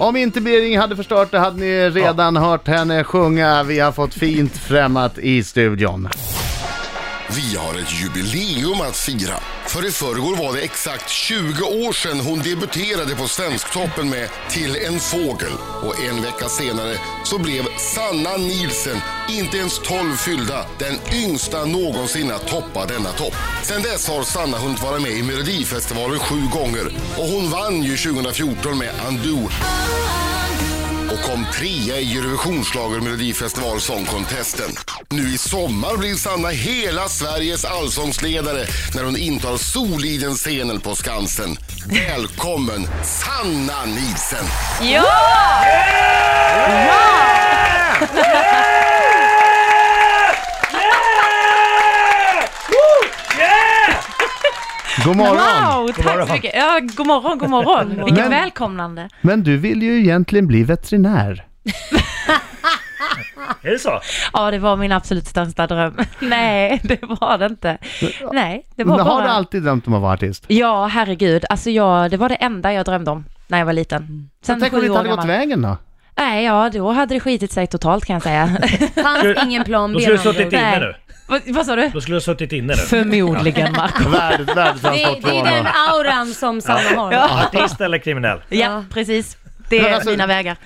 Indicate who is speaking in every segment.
Speaker 1: Om inte Bering hade förstört det hade ni redan hört henne sjunga. Vi har fått fint främmat i studion.
Speaker 2: Vi har ett jubileum att fira. För i förrgår var det exakt 20 år sedan hon debuterade på Svensktoppen med Till en fågel. Och en vecka senare så blev Sanna Nielsen, inte ens 12 fyllda, den yngsta någonsin att toppa denna topp. Sedan dess har Sanna hunnit vara med i Melodifestivalen sju gånger. Och hon vann ju 2014 med Andu och kom trea i Eurovisionsschlager Melodifestival Songcontesten. Nu i sommar blir Sanna hela Sveriges allsångsledare när hhon intar Soliden-scenen på Skansen. Välkommen Sanna Nielsen!
Speaker 3: Ja!
Speaker 1: God morgon!
Speaker 3: Wow, tack så mycket. Ja, god morgon, god morgon. Vilket
Speaker 1: Men-
Speaker 3: välkomnande.
Speaker 1: Men du vill ju egentligen bli veterinär.
Speaker 4: Är det så?
Speaker 3: Ja, det var min absolut största dröm. Nej, det var det inte. Nej, det var
Speaker 1: Men har du
Speaker 3: bara...
Speaker 1: alltid drömt om att vara artist?
Speaker 3: Ja, herregud. Alltså, jag, det var det enda jag drömde om när jag var liten. Sen
Speaker 1: Tänk om det
Speaker 3: sju
Speaker 1: inte
Speaker 3: år
Speaker 1: hade gått
Speaker 3: gammal.
Speaker 1: vägen då?
Speaker 3: Nej, ja, då hade det skitit sig totalt kan jag säga.
Speaker 4: Skulle-
Speaker 5: Fanns ingen plan
Speaker 4: Då
Speaker 5: B
Speaker 4: skulle du
Speaker 5: med andra
Speaker 4: suttit
Speaker 5: ord.
Speaker 4: inne
Speaker 3: Nej.
Speaker 4: nu.
Speaker 3: vad, vad sa du?
Speaker 4: Då skulle du suttit inne nu.
Speaker 3: Förmodligen, Marco.
Speaker 1: Värdet,
Speaker 5: det, det är den
Speaker 1: värdetransportfrågan.
Speaker 5: auran som Sanna har.
Speaker 4: Artist eller kriminell?
Speaker 3: Ja, precis. Det
Speaker 1: Men
Speaker 3: är
Speaker 1: alltså-
Speaker 3: mina vägar.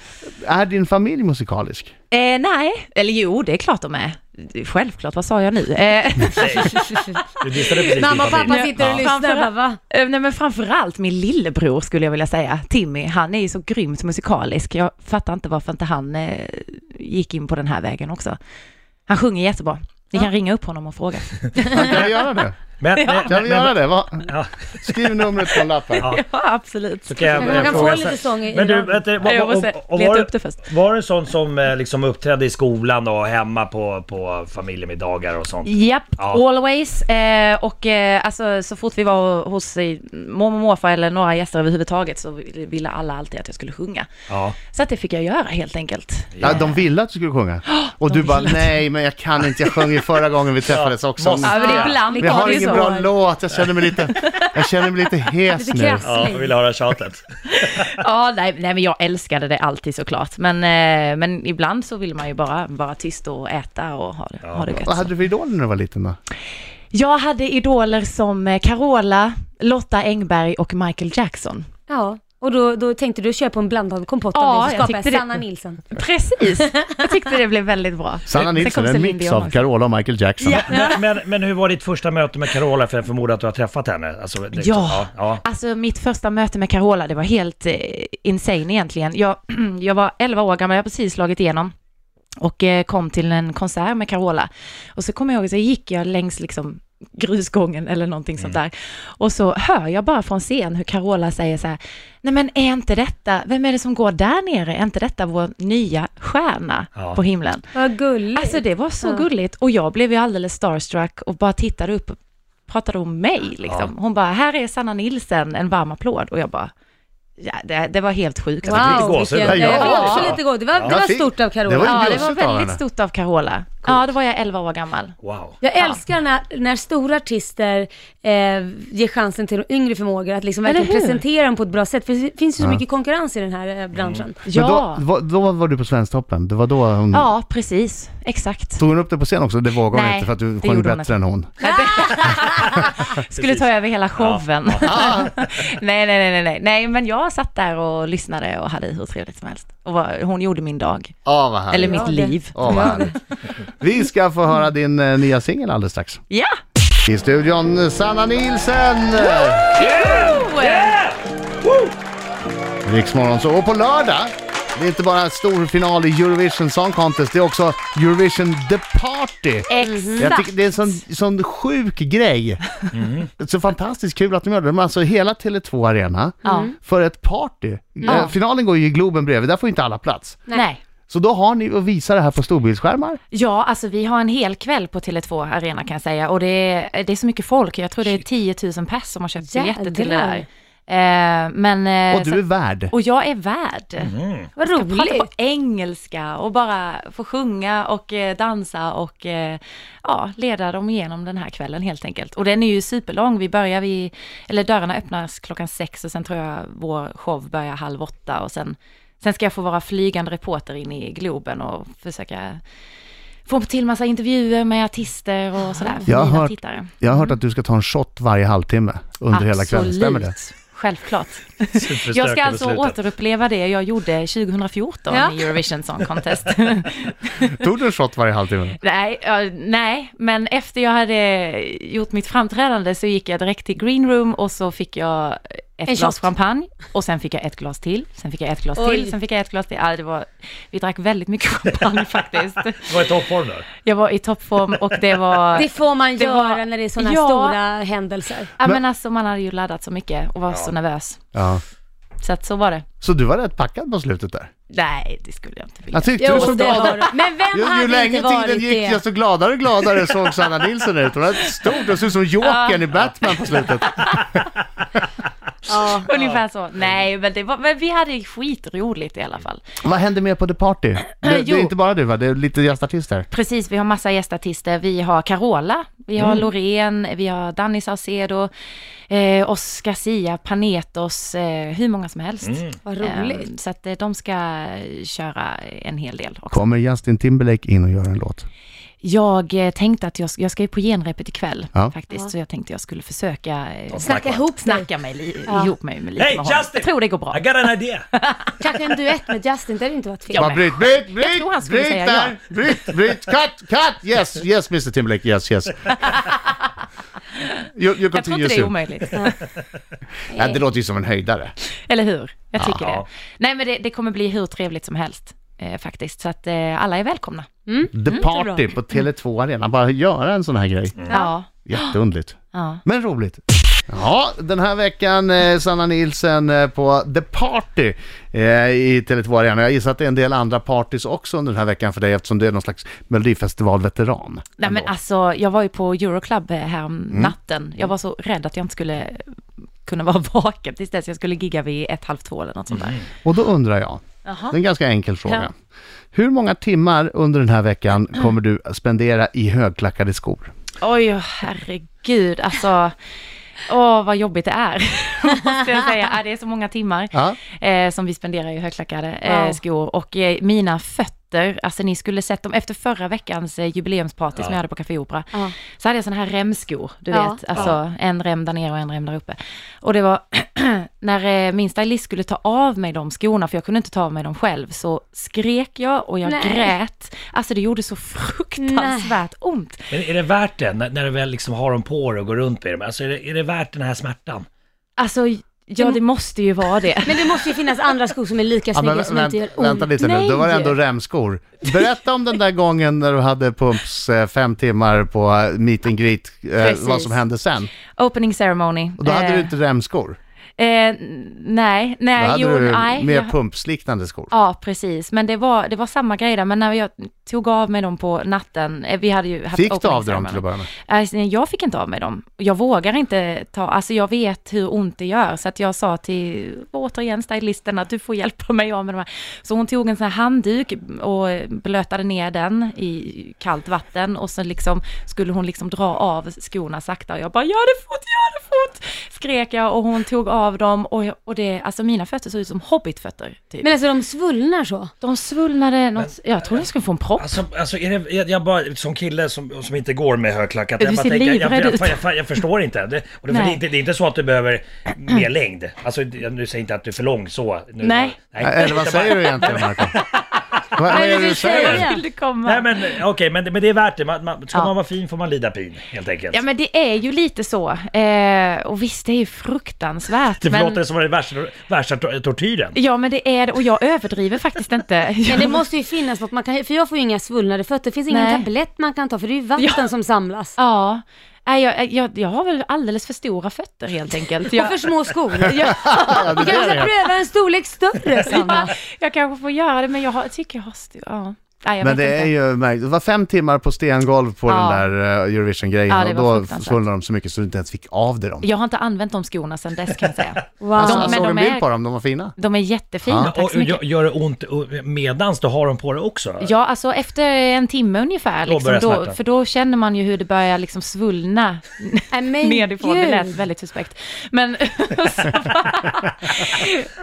Speaker 1: Är din familj musikalisk?
Speaker 3: Eh, nej, eller jo, det är klart de är. Självklart, vad sa jag nu? Eh,
Speaker 4: Nej. Du dissade precis din
Speaker 5: Mamma och pappa
Speaker 4: familj.
Speaker 5: sitter och
Speaker 3: Ja.
Speaker 5: lyssnar bara, va?
Speaker 3: Eh, Nej men framförallt min lillebror skulle jag vilja säga, Timmy, han är ju så grymt musikalisk. Jag fattar inte varför inte han eh, gick in på den här vägen också. Han sjunger jättebra. Ni kan ringa upp honom och fråga.
Speaker 1: Ja, Kan vi göra det?
Speaker 4: Men, men,
Speaker 1: Kan
Speaker 4: men,
Speaker 1: vi göra
Speaker 4: men,
Speaker 1: det? Va?
Speaker 4: Ja.
Speaker 1: Skriv numret på en lapp här.
Speaker 4: Ja.
Speaker 3: Ja, absolut.
Speaker 4: så kan jag,
Speaker 5: Man
Speaker 4: eh,
Speaker 5: kan
Speaker 4: fråga
Speaker 5: få
Speaker 4: så-
Speaker 5: lite sång i
Speaker 4: Men du,
Speaker 5: radion.
Speaker 4: vänta, vad-
Speaker 3: Jag
Speaker 4: och,
Speaker 3: måste
Speaker 4: och, och
Speaker 3: leta
Speaker 4: var,
Speaker 3: upp det först.
Speaker 4: var du en sån som eh, liksom uppträdde i skolan och hemma på, på familjemiddagar och sånt?
Speaker 3: Japp,
Speaker 4: Ja.
Speaker 3: always. Eh, och eh, alltså, så fort vi var hos eh, mormor och morfar eller några gäster överhuvudtaget så ville alla alltid att jag skulle sjunga.
Speaker 4: Ja.
Speaker 3: Så att det fick jag göra helt enkelt.
Speaker 1: Ja, de ville att du skulle sjunga. Och
Speaker 3: de
Speaker 1: du bara,
Speaker 3: ville att-
Speaker 1: nej men jag kan inte, jag sjöng ju förra gången vi träffades också.
Speaker 4: måste-
Speaker 3: Ja, men
Speaker 5: Ja.
Speaker 3: ibland
Speaker 1: Vi
Speaker 3: var
Speaker 1: har
Speaker 3: det ju
Speaker 1: ingen
Speaker 3: så.
Speaker 1: bra låt, jag känner mig lite, jag känner mig lite hes
Speaker 5: Lite
Speaker 1: nu.
Speaker 5: krass.
Speaker 4: Ja, jag ville höra tjatet.
Speaker 3: Ja, nej, nej, men jag älskade det alltid såklart. Men, eh, men ibland så vill man ju bara vara tyst och äta och ha det, ha det
Speaker 1: Vad
Speaker 3: gött.
Speaker 1: hade du för idoler när du var liten då?
Speaker 3: Jag hade idoler som eh, Carola, Lotta Engberg och Michael Jackson.
Speaker 5: Ja, och då, då tänkte du köpa en blandad kompott av
Speaker 3: Ja,
Speaker 5: dig, så
Speaker 3: jag
Speaker 5: skapade jag
Speaker 3: tyckte det.
Speaker 5: Sanna Nilsson.
Speaker 3: Precis, jag tyckte det blev väldigt bra.
Speaker 1: Sanna Nilsson,
Speaker 3: kom
Speaker 1: en
Speaker 3: Celine
Speaker 1: mix
Speaker 3: Dion
Speaker 1: av
Speaker 3: också.
Speaker 1: Carola och Michael Jackson.
Speaker 4: Men, men, men hur var ditt första möte med Carola? För jag förmodar att du har träffat henne? Alltså, det-
Speaker 3: Ja.
Speaker 4: ja.
Speaker 3: Alltså mitt första möte med Carola, det var helt eh, insane egentligen. Jag, jag var 11 år gammal, jag har precis slagit igenom och eh, kom till en konsert med Carola. Och så kommer jag ihåg, så gick jag längs liksom grusgången eller någonting sånt där. Och så hör jag bara från scen hur Carola säger så här, nej men är inte detta, vem är det som går där nere, är inte detta vår nya stjärna
Speaker 4: Ja.
Speaker 3: på himlen?
Speaker 5: Vad gulligt.
Speaker 3: Alltså det var så gulligt och jag blev ju alldeles starstruck och bara tittade upp och pratade om mig liksom. Hon bara, här är Sanna Nilsen, en varm applåd och jag bara, ja, det, det var helt sjukt.
Speaker 5: wow,
Speaker 1: Alltså,
Speaker 4: fick lite gåshud.
Speaker 5: vilken-
Speaker 1: Ja,
Speaker 5: jag
Speaker 1: ja.
Speaker 5: fick också lite gåshud. Det var, det
Speaker 1: Jag
Speaker 5: var
Speaker 1: fick-
Speaker 5: stort av
Speaker 1: det
Speaker 5: Carola.
Speaker 1: var
Speaker 3: Ja, det
Speaker 1: Bjussigt
Speaker 3: var
Speaker 1: av
Speaker 3: väldigt
Speaker 1: henne.
Speaker 3: stort av Carola. Ja, då var jag 11 år gammal.
Speaker 4: Wow.
Speaker 5: Jag älskar när, när stora artister eh, ger chansen till de yngre förmågor att liksom
Speaker 3: Eller
Speaker 5: verkligen
Speaker 3: hur?
Speaker 5: presentera dem på ett bra sätt. För det finns ju så mycket konkurrens i den här eh, branschen.
Speaker 3: Ja,
Speaker 1: Men då, då, då var du på Svensktoppen, det var då hon...
Speaker 3: ja precis, exakt.
Speaker 1: Tog hon upp det på scen också? Det vågade hon
Speaker 3: Nej,
Speaker 1: inte för att du
Speaker 3: det
Speaker 1: sjöng
Speaker 3: gjorde hon
Speaker 1: bättre än hon.
Speaker 3: Skulle ta över hela showen. nej, nej, nej, nej, nej, nej, men jag satt där och lyssnade och hade hur trevligt som helst. Och var, hon gjorde min dag,
Speaker 1: Ja, vad härligt.
Speaker 3: eller mitt
Speaker 5: det-
Speaker 3: liv.
Speaker 1: Åh, vad härligt. Vi ska få höra din eh, nya singel alldeles strax.
Speaker 3: Ja!
Speaker 1: I studion, Sanna Nielsen! Riksmorgon så. Och på lördag, det är inte bara en stor final i Eurovision Song Contest, det är också Eurovision The Party. Jag
Speaker 3: Exakt!
Speaker 1: tycker det är en sån, sån sjuk grej.
Speaker 3: Mm.
Speaker 1: Så fantastiskt kul att de gör det. De har alltså hela Tele2 Arena
Speaker 3: Ja.
Speaker 1: för ett party. Eh, Finalen går ju i Globen bredvid, där får inte alla plats.
Speaker 3: Nej.
Speaker 1: Så då har ni att visa det här på storbildsskärmar.
Speaker 3: Ja, alltså vi har en hel kväll på Tele2 Arena kan jag säga och det är, det är så mycket folk. Jag tror det är 10 000 pers som har köpt biljetter till det där. Eh, men, eh,
Speaker 1: Och du
Speaker 3: så,
Speaker 1: är värd.
Speaker 3: och jag är värd.
Speaker 5: Vad
Speaker 3: Mhm. Jag pratar
Speaker 5: roligt.
Speaker 3: på engelska och bara få sjunga och eh, dansa och eh, ja, leda dem igenom den här kvällen helt enkelt. Och den är ju superlång. Vi börjar vid, eller dörrarna öppnas klockan sex och sen tror jag vår show börjar halv åtta och sen Sen ska jag få vara flygande reporter in i Globen och försöka få till massa intervjuer med artister och sådär. för
Speaker 1: Jag har
Speaker 3: mina
Speaker 1: hört-
Speaker 3: tittare.
Speaker 1: Jag har hört att du ska ta en shot varje halvtimme under hela kvällen, stämmer det?
Speaker 3: Absolut. Självklart.
Speaker 4: Superstökigt
Speaker 3: Jag ska alltså
Speaker 4: beslutet.
Speaker 3: återuppleva det jag gjorde 2014
Speaker 5: Ja.
Speaker 3: i Eurovision Song Contest.
Speaker 1: Tog du en shot varje halvtimme?
Speaker 3: nej, ja, nej, men efter jag hade gjort mitt framträdande så gick jag direkt till green room och så fick jag ett
Speaker 5: En
Speaker 3: glas
Speaker 5: shot.
Speaker 3: champagne och sen fick jag ett glas till, sen fick jag ett glas
Speaker 5: Oj.
Speaker 3: till, sen fick jag ett glas till. Ja, det var, vi drack väldigt mycket champagne faktiskt.
Speaker 4: Det var i toppform då.
Speaker 3: Jag var i toppform och det var...
Speaker 5: Det får man
Speaker 3: Äh, Det
Speaker 5: göra
Speaker 3: var-
Speaker 5: när det är sådana
Speaker 3: Ja.
Speaker 5: stora händelser.
Speaker 3: ja, men alltså man hade ju laddat så mycket och var så nervös.
Speaker 1: Ja.
Speaker 3: Så att så var det.
Speaker 1: Så du var rätt packad på slutet där?
Speaker 3: Nej, det skulle jag inte vilja.
Speaker 5: Alltså,
Speaker 1: Jag tyckte du såg
Speaker 5: det
Speaker 1: gladare
Speaker 5: har du. Men vem
Speaker 1: Ju,
Speaker 5: hade
Speaker 1: ju längre
Speaker 5: inte varit
Speaker 1: tiden gick,
Speaker 5: det?
Speaker 1: desto gladare och gladare såg Sanna Nilsson ut. Hon hade ett stort, hon såg ut som Jokern i Batman på slutet.
Speaker 5: Ja.
Speaker 3: Ungefär så. Nej, men, det var, men vi hade ju skitroligt i alla fall.
Speaker 1: Vad hände mer på The Party? Det, det
Speaker 3: Jo.
Speaker 1: är inte bara du va? Det är lite gästartister.
Speaker 3: Precis, vi har massa gästartister. Vi har Carola, vi
Speaker 4: Mm.
Speaker 3: har Loreen, vi har Danny Saucedo, eh, Oscar Sia, Panetos, eh, hur många som helst.
Speaker 4: Mm.
Speaker 5: Vad
Speaker 3: Eh,
Speaker 5: roligt.
Speaker 3: så att eh, de ska köra en hel del också.
Speaker 1: Kommer Justin Timberlake in och gör en låt?
Speaker 3: Jag eh, tänkte att jag, jag ska ju på genrepet ikväll
Speaker 1: Ja.
Speaker 3: faktiskt, så jag tänkte jag skulle försöka eh,
Speaker 5: Snacka ihop dig.
Speaker 3: snacka mig li- ihop mig med lite
Speaker 4: Hey
Speaker 3: med honom.
Speaker 4: Justin!
Speaker 3: Jag tror det går bra.
Speaker 4: I got an idea.
Speaker 5: Kanske en duett med Justin, det hade ju inte varit fel.
Speaker 3: Ja,
Speaker 1: Bara
Speaker 3: men-
Speaker 1: bryt, bryt, bryt,
Speaker 3: tror han skulle
Speaker 1: bryt
Speaker 3: säga
Speaker 1: där! Bryt, bryt, cut, cut! Yes, yes Mr Timberlake, yes, yes. You, you
Speaker 3: Jag tror
Speaker 1: continue
Speaker 3: inte det är
Speaker 1: soon.
Speaker 3: omöjligt.
Speaker 1: Ja, det låter ju som en höjdare.
Speaker 3: Eller hur? Jag tycker
Speaker 4: Ja.
Speaker 3: det. Nej men det, det kommer bli hur trevligt som helst eh, faktiskt. Så att eh, alla är välkomna.
Speaker 1: The Party på Tele2 Arena, bara göra en sån här grej.
Speaker 4: Mm.
Speaker 3: Ja.
Speaker 1: Jätteundligt.
Speaker 3: Ja.
Speaker 1: Men roligt. Ja, den här veckan eh, Sanna Nilsen eh, på The Party eh, i Tele2 Arena. Jag gissar att det är en del andra parties också under den här veckan för dig eftersom du är någon slags Melodifestivalveteran.
Speaker 3: Nej men
Speaker 1: ändå.
Speaker 3: alltså, jag var ju på Euroclub eh, här om natten. Jag var så rädd att jag inte skulle kunna vara vaken tills dess jag skulle gigga vid ett, halv två eller något sånt där.
Speaker 1: Och då undrar jag, det är en ganska enkel fråga.
Speaker 3: Ja.
Speaker 1: Hur många timmar under den här veckan kommer du att spendera i högklackade skor?
Speaker 3: Oj, herregud, alltså. Åh, vad jobbigt det är, måste jag säga. Ja, Det är så många timmar
Speaker 1: Ja.
Speaker 3: eh, som vi spenderar i högklackade
Speaker 5: Ja.
Speaker 3: eh, skor. Och eh, mina fötter, alltså ni skulle sett dem efter förra veckans eh, jubileumsparty som jag hade på Café Opera.
Speaker 5: Ja.
Speaker 3: Så hade jag sådana här remskor, du
Speaker 5: Ja.
Speaker 3: vet. Alltså en rem där nere och en rem där uppe. Och det var när eh, min stylist skulle ta av mig de skorna, för jag kunde inte ta av mig dem själv, så skrek jag och jag
Speaker 5: Nej.
Speaker 3: grät. Alltså det gjorde så fruktansvärt ont.
Speaker 4: Men är det värt det när, när du väl liksom har dem på dig och går runt med dem? Alltså är det, är det värt den här smärtan?
Speaker 3: Alltså, ja det måste ju vara det.
Speaker 5: Men det måste ju finnas andra skor som är lika
Speaker 1: Ja,
Speaker 5: snygga
Speaker 1: men
Speaker 5: som
Speaker 1: vänt-
Speaker 5: inte gör ont.
Speaker 1: vänta lite nu,
Speaker 3: Nej.
Speaker 1: då var det ändå remskor. Berätta om den där gången när du hade pumps eh, fem timmar på eh, meet and greet, eh,
Speaker 3: Precis.
Speaker 1: vad som hände sen.
Speaker 3: Opening ceremony.
Speaker 1: Och då hade
Speaker 3: Eh,
Speaker 1: du inte remskor,
Speaker 3: Eh, nej,
Speaker 1: då
Speaker 3: nej,
Speaker 1: hade
Speaker 3: jo,
Speaker 1: du
Speaker 3: nej.
Speaker 1: mer
Speaker 3: jag-
Speaker 1: pumpsliknande skor.
Speaker 3: Ja, precis. Men det var, det var samma grej där. Men när jag tog av mig dem på natten, eh, vi hade ju haft
Speaker 1: Fick du
Speaker 3: opening
Speaker 1: av dig dem
Speaker 3: ceremony.
Speaker 1: till att börja med?
Speaker 3: Alltså, nej, jag fick inte av mig dem. Jag vågar inte ta, alltså jag vet hur ont det gör. Så att jag sa till, återigen stylisten, att du får hjälpa mig av med de här. Så hon tog en sån här handduk och blötade ner den i kallt vatten och sen liksom skulle hon liksom dra av skorna sakta och jag bara, gör det fort, gör det fort! Skrek jag och hon tog av dem och, jag, och det, alltså mina fötter såg ut som hobbitfötter. Typ.
Speaker 5: Men alltså de svullnar så.
Speaker 3: de svullnade, något, jag trodde jag skulle få en propp.
Speaker 4: Alltså, alltså är det, jag, jag bara, som kille som, som inte går med högklackat,
Speaker 3: Du
Speaker 4: jag bara
Speaker 3: ser
Speaker 4: tänker, jag, jag,
Speaker 3: livrädd
Speaker 4: jag,
Speaker 3: ut.
Speaker 4: jag, jag, förstår inte. Det, och det, för det, är
Speaker 3: Nej.
Speaker 4: inte, det är inte så att du behöver mer längd. Alltså, jag- nu säger inte att du är för lång så. Nu,
Speaker 3: Nej.
Speaker 1: Eh, Eller vad säger du egentligen Marco? Vad, vad är det du säger?
Speaker 5: säga?
Speaker 3: Vill du komma?
Speaker 4: Nej men okej, men, det- men det är värt det. Man, man, ska
Speaker 3: Ja.
Speaker 4: man vara fin får man lida pin, helt enkelt.
Speaker 3: Ja men det är ju lite så. Eh, och visst, det är ju fruktansvärt.
Speaker 4: det
Speaker 3: men,
Speaker 4: låter som den värsta, värsta tor- tortyren.
Speaker 3: ja men det är det, och jag överdriver faktiskt inte.
Speaker 5: Men det måste ju finnas något man kan, för jag får ju inga svullnade fötter. Det finns ingen
Speaker 3: Nej.
Speaker 5: tablett man kan ta för det är ju vatten som samlas.
Speaker 3: Ja. Nej, jag, jag, jag har väl alldeles för stora fötter helt enkelt.
Speaker 5: Och
Speaker 3: Jag,
Speaker 5: för små skor. Ja.
Speaker 1: Ja, det där
Speaker 5: Du kanske ska
Speaker 1: är-
Speaker 5: pröva en storlek större Sanna.
Speaker 3: jag kanske får göra det men jag har, jag tycker jag har... stu- Ja. Nej, jag
Speaker 1: Men
Speaker 3: vet
Speaker 1: det är
Speaker 3: inte.
Speaker 1: ju märkligt. Det var fem timmar på stengolv på
Speaker 3: Ja.
Speaker 1: den där eh, Eurovision-grejen
Speaker 3: Ja, det var
Speaker 1: och då
Speaker 3: fruktansvärt.
Speaker 1: svullnade de så mycket så du inte ens fick av dig dem.
Speaker 3: Jag har inte använt de skorna sedan dess kan jag säga.
Speaker 5: Wow.
Speaker 1: Alltså,
Speaker 3: de-
Speaker 1: jag
Speaker 3: men
Speaker 1: såg
Speaker 3: de
Speaker 1: en
Speaker 3: är-
Speaker 1: bild på dem, de var fina.
Speaker 3: De är jättefina,
Speaker 1: Ja.
Speaker 3: tack
Speaker 4: Och
Speaker 3: så mycket.
Speaker 4: gö- gör det ont eh, medans du har dem på dig också?
Speaker 3: Ja, alltså efter en timme ungefär,
Speaker 4: Då
Speaker 3: liksom,
Speaker 4: börjar
Speaker 3: då,
Speaker 4: smärtan.
Speaker 3: för då känner man ju hur det börjar liksom svullna
Speaker 5: Nej, Äh, men
Speaker 3: nedifrån. Det
Speaker 5: gud.
Speaker 3: lät väldigt suspekt. Men, så bara-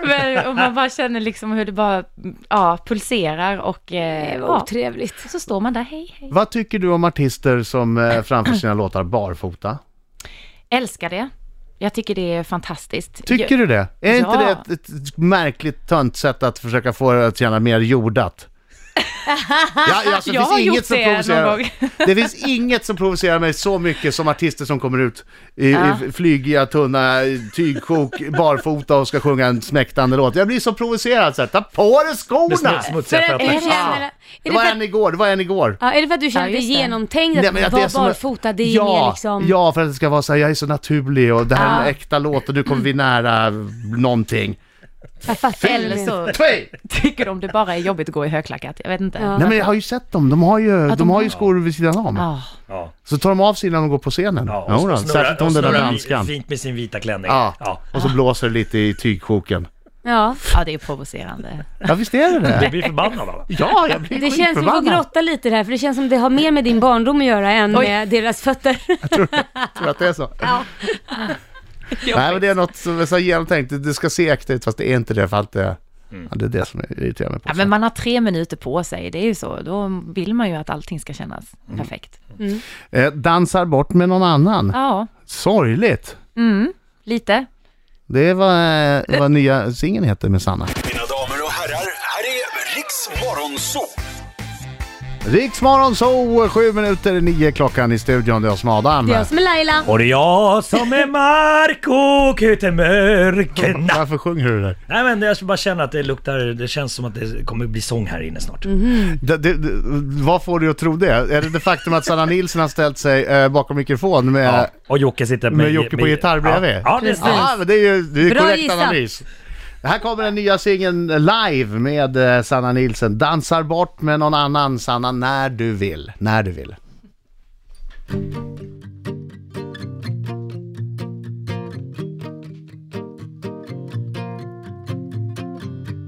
Speaker 3: men och man bara känner liksom hur det bara ja, pulserar och eh,
Speaker 5: Det var
Speaker 3: ja,
Speaker 5: otrevligt.
Speaker 3: så står man där, hej, hej.
Speaker 1: Vad tycker du om artister som eh, framför sina låtar barfota?
Speaker 3: Älskar det. Jag tycker det är fantastiskt.
Speaker 1: Tycker
Speaker 3: jag,
Speaker 1: du det? Är inte
Speaker 3: Ja.
Speaker 1: det ett, ett märkligt tönt sätt att försöka få det att känna mer jordat? Ja, alltså, det
Speaker 3: Jag
Speaker 1: finns
Speaker 3: har
Speaker 1: inget
Speaker 3: gjort
Speaker 1: som
Speaker 3: det någon
Speaker 1: provocerar,
Speaker 3: gång.
Speaker 1: Det finns inget som provocerar mig så mycket som artister som kommer ut i,
Speaker 3: Ja.
Speaker 1: i flygiga, tunna tygkok, barfota och ska sjunga en smäktande låt. Jag blir så provocerad så här, ta på dig
Speaker 4: Med sm-
Speaker 1: skorna!
Speaker 4: smutsiga
Speaker 5: För att-
Speaker 4: fötter.
Speaker 5: är det-
Speaker 1: Ah,
Speaker 5: är
Speaker 1: Det
Speaker 5: det
Speaker 1: var
Speaker 5: för-
Speaker 1: en igår, det var en igår.
Speaker 5: Ja, är det för att du känner
Speaker 3: Ja,
Speaker 5: att
Speaker 3: just
Speaker 5: det
Speaker 3: det.
Speaker 5: är genomtänkt att
Speaker 1: att
Speaker 5: vara
Speaker 1: är som-
Speaker 5: barfota? Det är mer liksom...
Speaker 1: ja, för att det ska vara så här, jag är så naturlig och det här är en
Speaker 5: Ja.
Speaker 1: äkta låt och du kommer vi nära någonting.
Speaker 5: jag fattar.
Speaker 3: Eller så
Speaker 1: Tvej!
Speaker 3: tycker de det bara är jobbigt att gå i högklackat. Jag vet inte.
Speaker 5: Ja.
Speaker 1: Nej men jag har ju sett dem, de har ju, de
Speaker 3: de
Speaker 1: har ju
Speaker 3: har-
Speaker 1: skor vid sidan om.
Speaker 3: Ah.
Speaker 4: Ja.
Speaker 1: Så tar de av sig innan de går på scenen.
Speaker 4: Ja, och
Speaker 1: Ja,
Speaker 4: så
Speaker 1: då,
Speaker 4: snurrar-
Speaker 1: särskilt om
Speaker 4: och
Speaker 1: den där
Speaker 4: snurrar
Speaker 1: danskan.
Speaker 4: Fint med sin vita klänning.
Speaker 1: Ja.
Speaker 4: Ja.
Speaker 1: Och så blåser det lite i tygkjoken.
Speaker 5: Ja.
Speaker 3: ja, det är provocerande.
Speaker 1: Ja visst är det
Speaker 4: Du
Speaker 1: det?
Speaker 4: blir förbannad av det.
Speaker 1: Ja, jag blir
Speaker 5: Det känns som vi får
Speaker 1: skitförbannad.
Speaker 5: grotta lite i det här, för det känns som det har mer med din barndom att göra än
Speaker 3: Oj.
Speaker 5: med deras fötter.
Speaker 1: Tror du att det är så? Nej men det är något som är så genomtänkt, det det ska se äkta ut fast det är inte det för allt det...
Speaker 4: Mm.
Speaker 1: Ja, det är det som jag irriterar mig på.
Speaker 3: Ja, men man har tre minuter på sig, det är ju så. Då vill man ju att allting ska kännas
Speaker 1: Mm.
Speaker 3: perfekt.
Speaker 1: eh, dansar bort med någon annan.
Speaker 3: Ja,
Speaker 1: Sorgligt.
Speaker 3: lite.
Speaker 1: Det var eh, vad nya singeln heter med Sanna.
Speaker 6: Mina damer och herrar, här är Riks Morgonzoo!
Speaker 1: Riksmorgon så sju minuter i nio klockan i studion. Det är jag som är Adam.
Speaker 5: Det är jag som är Laila.
Speaker 4: Och det är jag som är Marco Kutemörken.
Speaker 1: Varför sjunger du det där?
Speaker 4: Nej men jag bara känner att det luktar, det känns som att det kommer bli sång här inne snart.
Speaker 1: Mhm. Det, det, det, vad får du att tro det? Är det det faktum att Sanna Nilsson har ställt sig eh, bakom mikrofon med,
Speaker 4: Ja. Och Jocke sitter med...
Speaker 1: med Jocke på gitarr bredvid?
Speaker 4: Ja, ja det är
Speaker 1: Ja,
Speaker 4: fint.
Speaker 1: men det är ju det är
Speaker 5: Bra
Speaker 1: korrekt
Speaker 5: gissat.
Speaker 1: analys. Här kommer den nya singeln live med eh, Sanna Nilsson. Dansar bort med någon annan Sanna när du vill. När du vill.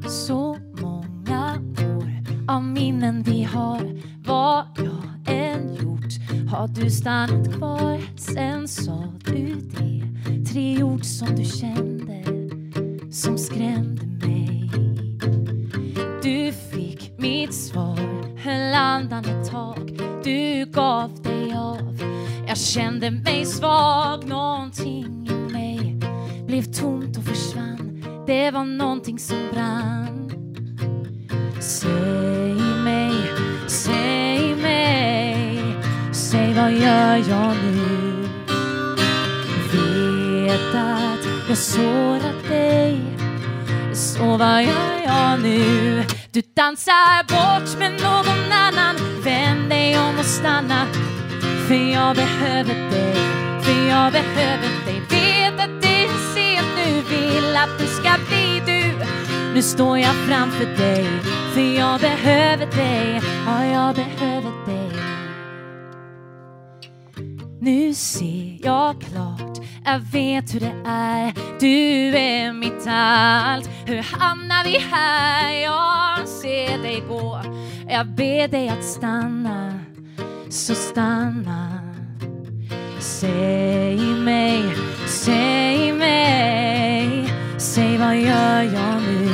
Speaker 3: Så många år av minnen vi har Vad jag än gjort har du stannat kvar Sen sa du det Tre ord som du kände Som skrämde mig Du fick mitt svar Höll andan ett tag Du gav dig av Jag kände mig svag Någonting i mig blev tomt och försvann Det var någonting som brann Säg mig, säg mig Säg vad gör jag nu? Vet att jag sårat dig Så vad gör jag nu? Du dansar bort med någon annan Vänd dig om och stanna för jag behöver dig, för jag behöver dig Vet att det är sent nu, vill att du ska bli du Nu står jag framför dig, för jag behöver dig Ja, jag behöver dig nu ser jag klart, jag vet hur det är Du är mitt allt Hur hamnar vi här? Jag ser dig gå Jag ber dig att stanna så stanna Säg mig, säg mig Säg vad gör jag nu?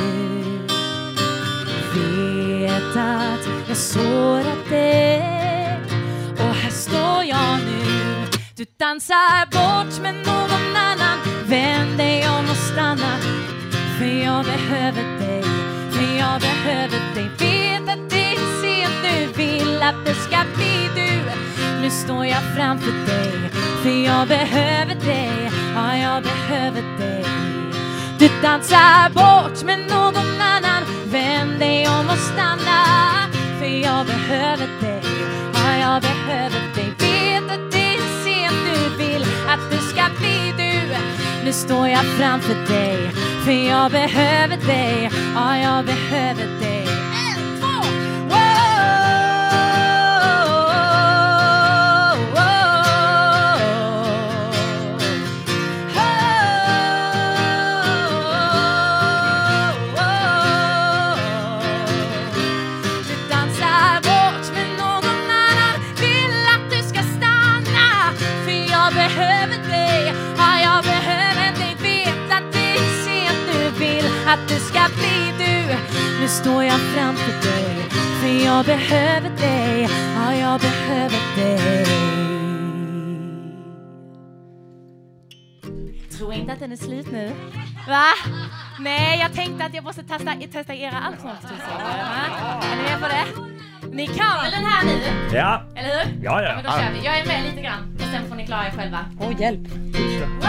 Speaker 3: Vet att jag sårat dig Och här står jag nu Du dansar bort med någon annan Vänd dig om och stanna För jag behöver dig För jag behöver dig Vet att det är sent nu Vill att det ska bli du Nu står jag framför dig För jag behöver dig Ja, jag behöver dig du dansar bort med någon annan Vänd dig om och stanna För jag behöver dig Ja, jag behöver dig Vet att det är sent du vill att du ska bli du Nu står jag framför dig För jag behöver dig Ja, jag behöver dig En, två, wow!
Speaker 7: står jag framför dig För jag behöver dig, ja jag behöver dig Tror inte att den är slut nu. Va? Nej, jag tänkte att jag måste testa, testa era alpsnålstussar. Är ni med på det? Ni kan väl den här nu?
Speaker 4: Ja,
Speaker 7: Eller hur?
Speaker 4: Ja, ja.
Speaker 7: men då kör vi. Jag är med lite grann och sen får ni klara er själva.
Speaker 3: Åh, hjälp.
Speaker 7: Wow!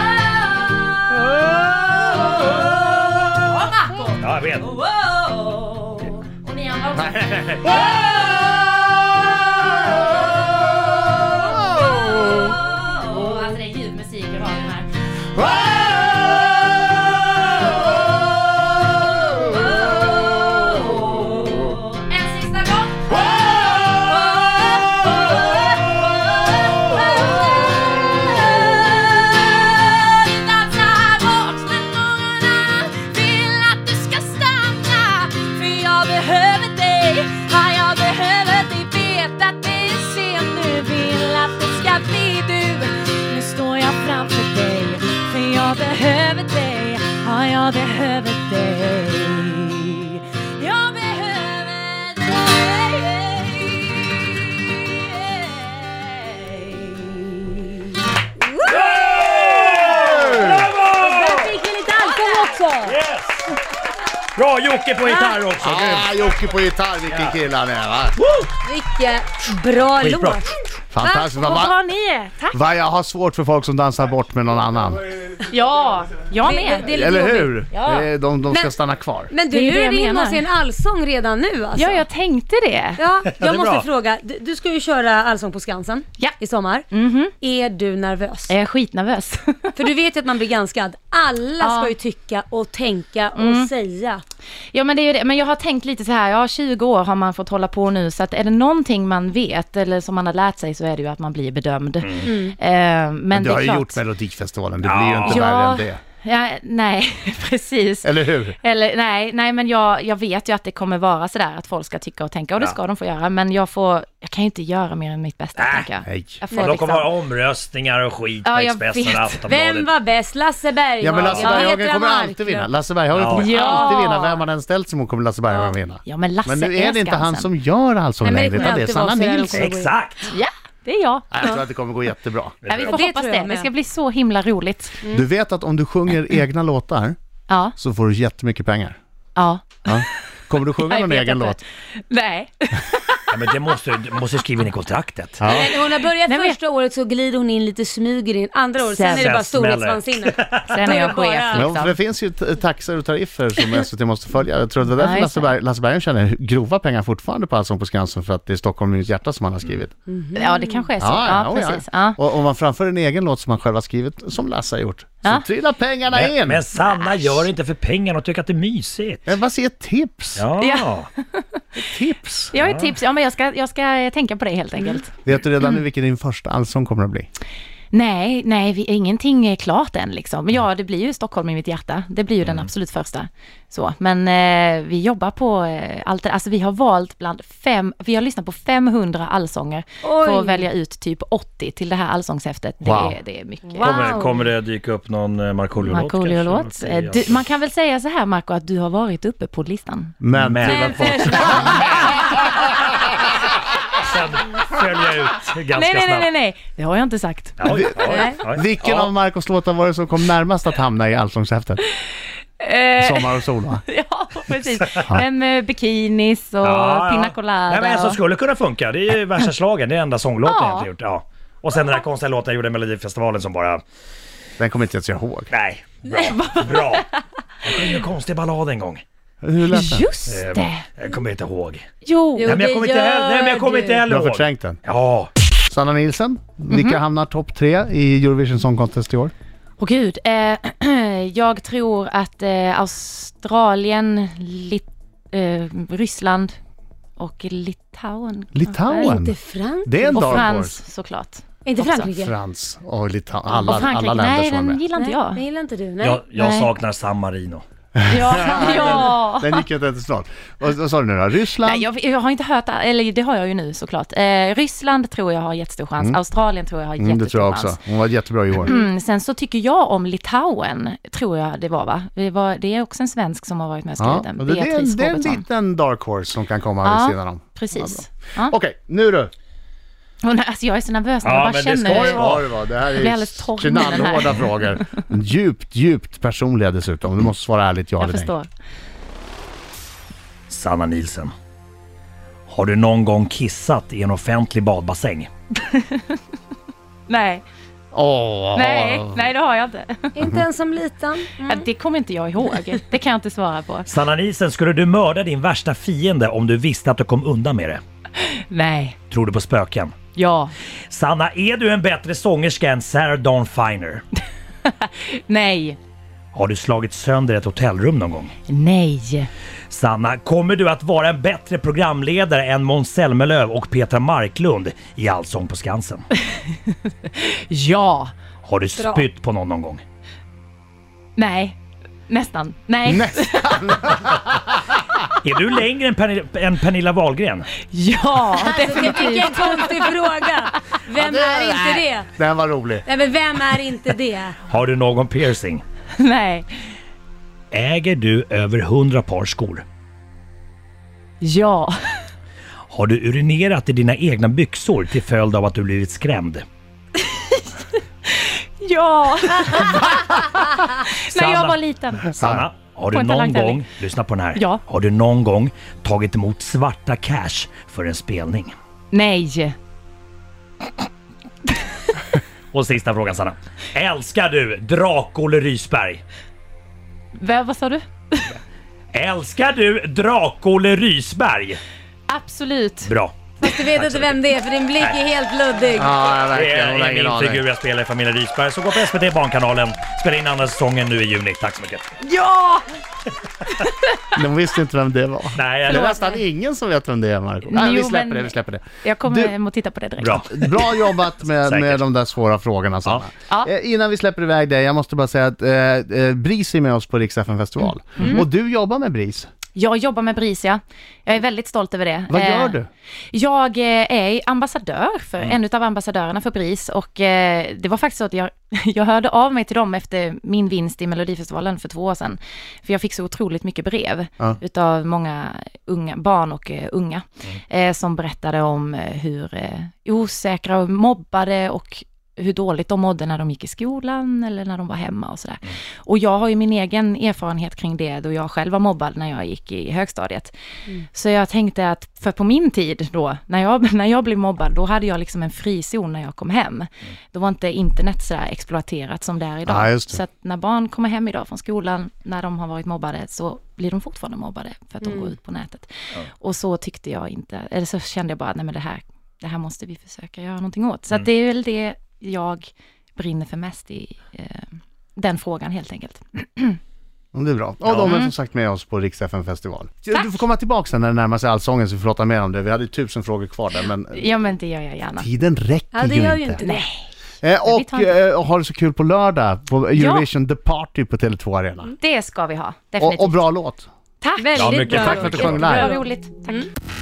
Speaker 7: Och Marco!
Speaker 4: ja jag vet.
Speaker 7: Wow! Och ni andra också. Wow! Alltså det är ljuv musik i radion här. Wow! En sista gång. Behöver dig, ja jag behöver dig Jag behöver dig
Speaker 5: Där fick vi lite alkohol också!
Speaker 4: Yes! Bra Jocke på gitarr också.
Speaker 1: Ah, Jocke på gitarr, vilken
Speaker 4: Ja.
Speaker 1: kille han är va?
Speaker 5: Vilket bra
Speaker 4: Skitbra.
Speaker 5: låt!
Speaker 1: Fantastiskt. Vad va,
Speaker 3: ni är. Tack.
Speaker 1: va, jag har svårt för folk som dansar bort med någon annan.
Speaker 3: Ja, jag med.
Speaker 5: det är lite
Speaker 1: Eller
Speaker 5: jobbigt.
Speaker 1: hur?
Speaker 3: Ja.
Speaker 1: Eh, De, de ska
Speaker 5: Men-
Speaker 1: stanna kvar.
Speaker 5: Men
Speaker 3: Det
Speaker 5: du,
Speaker 3: är det
Speaker 5: nu är
Speaker 3: jag
Speaker 5: vi inne
Speaker 3: menar.
Speaker 5: och ser en allsång redan nu alltså.
Speaker 3: Ja, jag tänkte det.
Speaker 5: Ja,
Speaker 4: är
Speaker 5: jag måste
Speaker 4: bra.
Speaker 5: fråga. Du, du ska ju köra Allsång på Skansen
Speaker 3: Ja. Mhm.
Speaker 5: i sommar. Är du nervös?
Speaker 3: Jag är skitnervös.
Speaker 5: För du vet ju att man blir granskad. Alla ska ju tycka och tänka och
Speaker 1: Mm.
Speaker 5: säga.
Speaker 3: Ja men det är ju det, men jag har tänkt lite så här, ja 20 år har man fått hålla på nu så att är det någonting man vet eller som man har lärt sig så är det ju att man blir bedömd.
Speaker 5: Mm.
Speaker 3: Eh, men,
Speaker 1: Mm. Du
Speaker 3: det
Speaker 1: har
Speaker 3: är
Speaker 1: ju
Speaker 3: klart.
Speaker 1: gjort Melodifestivalen, det
Speaker 4: Ja.
Speaker 1: blir ju inte värre
Speaker 3: Ja.
Speaker 1: än det.
Speaker 3: ja, nej, precis.
Speaker 1: Eller hur?
Speaker 3: Eller nej, nej men jag, jag vet ju att det kommer vara sådär att folk ska tycka och tänka och det
Speaker 4: Ja.
Speaker 3: ska de få göra men jag får, jag kan ju inte göra mer än mitt bästa
Speaker 4: Äh,
Speaker 3: tänker jag.
Speaker 1: nej.
Speaker 3: jag får
Speaker 4: Och de kommer
Speaker 3: liksom-
Speaker 4: ha omröstningar och skit
Speaker 3: Ja,
Speaker 4: på
Speaker 3: jag
Speaker 4: Expressen och
Speaker 3: vet.
Speaker 5: Vem
Speaker 4: Aftonbladet.
Speaker 5: var bäst? Lasse Berghagen?
Speaker 1: Ja men Lasse
Speaker 5: Petra
Speaker 1: Berghagen kommer
Speaker 5: Marklund.
Speaker 1: alltid vinna. Lasse Berghagen
Speaker 4: Ja.
Speaker 1: kommer
Speaker 3: Ja.
Speaker 1: alltid vinna. Vem man än ställt sig mot kommer Lasse Berghagen vinna.
Speaker 3: Ja men Lasse
Speaker 1: Men nu är det inte han
Speaker 3: Skansen.
Speaker 1: som gör Allsång
Speaker 5: Nej, men det
Speaker 1: längre, utan det
Speaker 5: kommer
Speaker 1: är
Speaker 5: alltid vara
Speaker 1: Sanna
Speaker 5: så här de
Speaker 1: Nilsson.
Speaker 5: kommer-
Speaker 4: Exakt!
Speaker 3: Ja, det är jag.
Speaker 1: Jag tror att det kommer gå jättebra.
Speaker 3: Ja, vi får
Speaker 5: Det
Speaker 3: hoppas
Speaker 5: tror jag
Speaker 3: det. Det
Speaker 5: med.
Speaker 3: ska bli så himla roligt.
Speaker 1: Du vet att om du sjunger egna låtar
Speaker 3: Ja,
Speaker 1: så får du jättemycket pengar.
Speaker 3: ja.
Speaker 1: Ja. Kommer du sjunga
Speaker 3: Jag
Speaker 1: någon
Speaker 3: vet
Speaker 1: egen
Speaker 3: inte.
Speaker 1: låt?
Speaker 3: Nej.
Speaker 4: Ja, men det måste du måste skriva in i kontraktet.
Speaker 1: Ja.
Speaker 5: Men hon har börjat
Speaker 3: Nej, men-
Speaker 5: första året så glider hon in lite smyger in. Andra året, sen,
Speaker 3: Sen-
Speaker 5: är det bara
Speaker 4: Sen smäller det.
Speaker 5: storhetsvansinne.
Speaker 3: Sen är jag
Speaker 5: Då är det
Speaker 3: chef
Speaker 5: bara-
Speaker 1: Ja, för det
Speaker 3: liksom.
Speaker 1: finns ju t- taxor och tariffer som SVT måste följa. Jag tror att det var därför
Speaker 3: Ja, just
Speaker 1: Lasse,
Speaker 3: det.
Speaker 1: Berg, Lasse Berghagen tjänar grova pengar fortfarande på Allsång på Skansen för att det är Stockholm i mitt hjärta som han har skrivit.
Speaker 3: Ja, det kanske är så.
Speaker 1: Ja, ja,
Speaker 3: Ja,
Speaker 1: oh, ja.
Speaker 3: precis. Ja.
Speaker 1: Och om man framför en egen låt som man själv har skrivit, som Lasse har gjort,
Speaker 3: Ja.
Speaker 1: så trillar pengarna in!
Speaker 4: Men,
Speaker 1: Men,
Speaker 4: men Sanna gör det inte för pengarna och tycker att det är mysigt.
Speaker 1: vad säger tips?
Speaker 4: Ja.
Speaker 3: Ja.
Speaker 1: Tips!
Speaker 3: Jag har ett tips. Ja, men jag ska, jag ska tänka på det helt enkelt.
Speaker 1: Vet du redan nu vilken din första allsång kommer att bli?
Speaker 3: Nej, nej, vi, ingenting är klart än liksom. Men ja, det blir ju Stockholm i mitt hjärta. Det blir ju den absolut första. Så, men eh, vi jobbar på eh, allt det Alltså vi har valt bland fem, vi har lyssnat på 500 allsånger för
Speaker 5: Oj.
Speaker 3: att välja ut typ 80 till det här allsångshäftet.
Speaker 1: Wow.
Speaker 3: Det, är, det är mycket.
Speaker 4: Kommer, kommer det dyka upp någon eh, Markoolio-låt?
Speaker 3: Markoolio-låt.
Speaker 4: kanske?
Speaker 3: Eh, du- Man kan väl säga så här Marco, att du har varit uppe på listan.
Speaker 1: Men,
Speaker 4: Men-
Speaker 1: men
Speaker 4: Sen följer jag ut ganska
Speaker 3: Nej, nej, nej,
Speaker 4: snabbt.
Speaker 3: nej, nej, det har jag inte sagt.
Speaker 4: Oj, oj, oj.
Speaker 1: vilken
Speaker 4: Ja.
Speaker 1: av Marcos låtar var det som kom närmast att hamna i allsångshäftet? Sommar och sol va?
Speaker 3: Ja, precis. Men med bikinis och
Speaker 4: Ja, ja.
Speaker 3: pina colada.
Speaker 4: Nej, men en som
Speaker 3: och-
Speaker 4: skulle kunna funka. Det är ju värsta slagen. Det är enda sånglåten
Speaker 3: Ja.
Speaker 4: jag inte gjort. Ja. Och sen den där konstiga låten jag gjorde i Melodifestivalen som bara...
Speaker 1: Den kommer inte ens jag ihåg.
Speaker 4: Nej, bra. bra. Jag sjöng en konstig ballad en gång.
Speaker 1: Hur lät den?
Speaker 3: Just
Speaker 4: Eh,
Speaker 3: det!
Speaker 4: Jag kommer inte ihåg.
Speaker 3: Jo,
Speaker 4: Nej,
Speaker 5: Jo.
Speaker 4: men jag
Speaker 5: det
Speaker 4: kommer inte
Speaker 5: gör
Speaker 4: heller, nej, men jag kommer inte
Speaker 5: du.
Speaker 1: Du
Speaker 4: heller
Speaker 1: har
Speaker 4: ihåg.
Speaker 1: förträngt den.
Speaker 4: Ja,
Speaker 1: Sanna Nielsen, vilka hamnar topp tre i Eurovision Song Contest i år?
Speaker 3: Åh gud. Eh, jag tror att eh, Australien, Lit- eh, Ryssland och Litauen.
Speaker 1: Litauen?
Speaker 5: Inte Frankrike?
Speaker 1: Det är en
Speaker 3: Och
Speaker 1: dark
Speaker 3: Frans
Speaker 1: horse.
Speaker 3: såklart.
Speaker 5: Inte
Speaker 3: Också.
Speaker 5: Frankrike?
Speaker 1: Frans och Litauen, alla,
Speaker 3: och Frankrike,
Speaker 1: alla länder
Speaker 3: nej
Speaker 1: som var
Speaker 3: den
Speaker 1: med.
Speaker 3: gillar inte
Speaker 5: det
Speaker 3: jag.
Speaker 5: gillar inte du. Nej.
Speaker 4: jag, jag
Speaker 3: Nej.
Speaker 4: saknar San Marino.
Speaker 3: Ja, ja.
Speaker 1: Den gick ju inte ens snart. Vad, vad sa du nu då? Ryssland?
Speaker 3: Nej, jag, jag har inte hört, eller det har jag ju nu såklart. Eh, Ryssland tror jag har jättestor chans, Australien tror jag har
Speaker 1: mm,
Speaker 3: jättestor
Speaker 1: det tror jag också.
Speaker 3: chans.
Speaker 1: Hon var jättebra i år.
Speaker 3: Mm, sen så tycker jag om Litauen, tror jag det var va? Det, var, det är också en svensk som har varit med och skrivit den,
Speaker 1: och det, det, är en,
Speaker 3: Beatrice
Speaker 1: det är en
Speaker 3: Robertsson.
Speaker 1: liten dark horse som kan komma vid
Speaker 3: Ja,
Speaker 1: sidan om.
Speaker 3: Precis. Ja.
Speaker 1: Okej, nu du.
Speaker 3: Hon, alltså jag är så nervös när
Speaker 4: Ja,
Speaker 3: jag bara
Speaker 4: men det
Speaker 3: känner
Speaker 4: ska ju
Speaker 1: Oj,
Speaker 4: vara.
Speaker 1: vad det var. Det här
Speaker 3: Jag blir alldeles
Speaker 1: är
Speaker 3: torr i munnen här.
Speaker 1: knallhårda frågor. Djupt, djupt personliga dessutom. Du måste svara ärligt ja
Speaker 3: Jag
Speaker 1: eller nej.
Speaker 3: förstår.
Speaker 4: Sanna Nielsen. Har du någon gång kissat i en offentlig badbassäng?
Speaker 3: Nej,
Speaker 1: Åh,
Speaker 3: nej, nej det har jag inte.
Speaker 5: Inte
Speaker 1: Mhm.
Speaker 5: ens som liten.
Speaker 3: Ja, Det kommer inte jag ihåg. Det kan jag inte svara på.
Speaker 4: Sanna Nielsen, skulle du mörda din värsta fiende om du visste att du kom undan med det?
Speaker 3: Nej,
Speaker 4: Tror du på spöken?
Speaker 3: ja,
Speaker 4: Sanna, är du en bättre sångerska än Sarah Dawn Finer?
Speaker 3: nej,
Speaker 4: Har du slagit sönder ett hotellrum någon gång?
Speaker 3: nej.
Speaker 4: Sanna, kommer du att vara en bättre programledare än Måns Zelmerlöw och Petra Marklund i Allsång på Skansen?
Speaker 3: Ja,
Speaker 4: Har du spytt på någon någon gång?
Speaker 3: nej, nästan, nej,
Speaker 4: Är du längre än, Pernilla, än Pernilla Wahlgren?
Speaker 3: ja,
Speaker 5: Alltså, det- vilken konstig fråga. Vem är inte det?
Speaker 1: Den var rolig.
Speaker 5: Nej men vem är inte det?
Speaker 4: Har du någon piercing?
Speaker 3: nej,
Speaker 4: Äger du över 100 par skor?
Speaker 3: ja,
Speaker 4: Har du urinerat i dina egna byxor till följd av att du blivit skrämd?
Speaker 3: ja. När jag
Speaker 4: Sanna.
Speaker 3: var liten.
Speaker 4: Sanna, har
Speaker 3: På
Speaker 4: du
Speaker 3: en
Speaker 4: någon
Speaker 3: talangtävling.
Speaker 4: gång, lyssna på den här,
Speaker 3: Ja.
Speaker 4: har du någon gång tagit emot svarta cash för en spelning?
Speaker 3: Nej,
Speaker 4: Och sista frågan Sanna. Älskar du Drak-Olle Rysberg?
Speaker 3: vad, vad sa du?
Speaker 4: Älskar du Drak-Olle Rysberg?
Speaker 3: Absolut.
Speaker 4: Bra.
Speaker 5: Fast du vet inte vem det är för din blick är helt luddig.
Speaker 1: Ja,
Speaker 4: Det
Speaker 1: verkligen. Hon har
Speaker 4: är
Speaker 1: ingen
Speaker 4: min
Speaker 1: aning.
Speaker 4: figur jag spelar i familjen Rysberg som går på SVT Barnkanalen. Spelar in andra säsongen nu i juni. Tack så mycket.
Speaker 3: Ja!
Speaker 1: De visste inte vem det var.
Speaker 4: Nej,
Speaker 1: Det är
Speaker 4: jag...
Speaker 1: nästan ingen som vet vem det är, Marco. Nej, vi
Speaker 3: Jo,
Speaker 1: släpper
Speaker 3: men-
Speaker 1: det, vi släpper det.
Speaker 3: Jag kommer
Speaker 1: Du-
Speaker 3: hem och titta på det direkt.
Speaker 4: Bra.
Speaker 1: Bra jobbat med,
Speaker 4: Säkert.
Speaker 1: med de där svåra frågorna Sanna.
Speaker 3: Ja. Ja.
Speaker 1: Eh, innan vi släpper iväg dig, jag måste bara säga att eh, eh, BRIS är med oss på Rix FM festival.
Speaker 3: Mm.
Speaker 1: Och du jobbar med BRIS.
Speaker 3: Jag jobbar med Brisia. Jag är väldigt stolt över det.
Speaker 1: Vad gör
Speaker 3: Eh,
Speaker 1: du?
Speaker 3: Jag eh, är ambassadör för en av ambassadörerna för BRIS och eh, det var faktiskt så att jag, jag hörde av mig till dem efter min vinst i Melodifestivalen för två år sedan. För jag fick så otroligt mycket brev
Speaker 1: Ja.
Speaker 3: utav många unga, barn och eh, unga eh, som berättade om eh, hur eh, osäkra och mobbade och hur dåligt de mådde när de gick i skolan eller när de var hemma och sådär. Och jag har ju min egen erfarenhet kring det då jag själv var mobbad när jag gick i högstadiet.
Speaker 1: Mm.
Speaker 3: Så jag tänkte att, för på min tid då, när jag, när jag blev mobbad, då hade jag liksom en frizon när jag kom hem.
Speaker 1: Mm.
Speaker 3: Då var inte internet så där exploaterat som det är idag.
Speaker 1: Ah, just det.
Speaker 3: så att när barn kommer hem idag från skolan, när de har varit mobbade, så blir de fortfarande mobbade för att de
Speaker 1: Mm.
Speaker 3: går ut på nätet. Och så tyckte jag inte, eller så kände jag bara, nej men det här, det här måste vi försöka göra någonting åt.
Speaker 1: Mm.
Speaker 3: Så att det är väl det jag brinner för mest i eh, den frågan helt enkelt.
Speaker 1: Mm, Det är bra. Och de är som sagt med oss på Rix FM festival. Du får komma tillbaka sen när det närmar sig Allsången så vi får prata mer om det. Vi hade ju tusen frågor kvar där men eh,
Speaker 3: Ja men det gör jag gärna.
Speaker 1: tiden räcker
Speaker 5: Ja det
Speaker 1: ju
Speaker 5: gör
Speaker 1: inte.
Speaker 5: ju inte det.
Speaker 3: Nej.
Speaker 1: Eh,
Speaker 3: vi
Speaker 1: och
Speaker 3: tar inte-
Speaker 1: eh, har det så kul på lördag på Eurovision The Party på Tele2 Arena.
Speaker 3: Det ska vi ha, Mm, definitivt.
Speaker 1: Och, och bra låt.
Speaker 3: Tack!
Speaker 5: Väldigt
Speaker 4: mycket
Speaker 5: bra.
Speaker 4: tack
Speaker 1: för att du
Speaker 5: Vilket
Speaker 1: sjöng
Speaker 5: bra
Speaker 1: live.
Speaker 3: Det
Speaker 5: ord.
Speaker 3: var roligt. Tack.